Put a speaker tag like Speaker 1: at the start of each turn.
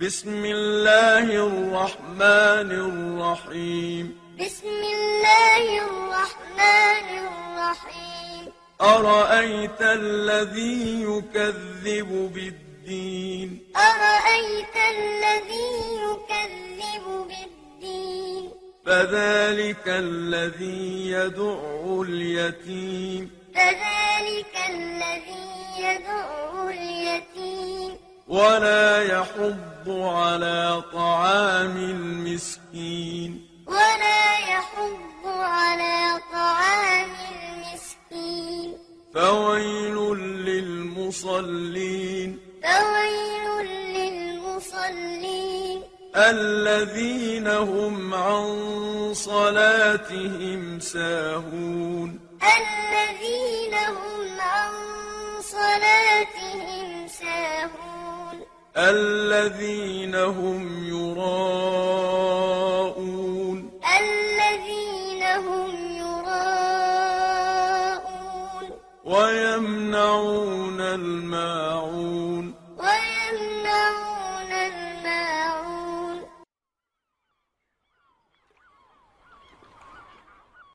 Speaker 1: بسم الله الرحمن الرحيم
Speaker 2: بسم الله الرحمن الرحيم
Speaker 1: أرأيت الذي يكذب بالدين
Speaker 2: أرأيت الذي يكذب بالدين
Speaker 1: فذلك الذي يدع اليتيم
Speaker 2: فذلك الذي يدعو اليتيم
Speaker 1: ولا يحض على طعام المسكين
Speaker 2: ولا يحض على طعام المسكين
Speaker 1: فويل للمصلين
Speaker 2: فويل للمصلين
Speaker 1: الذين هم عن صلاتهم ساهون
Speaker 2: الذين هم عن صلاتهم ساهون
Speaker 1: الذين هم يراءون
Speaker 2: الذين هم يراءون
Speaker 1: ويمنعون الماعون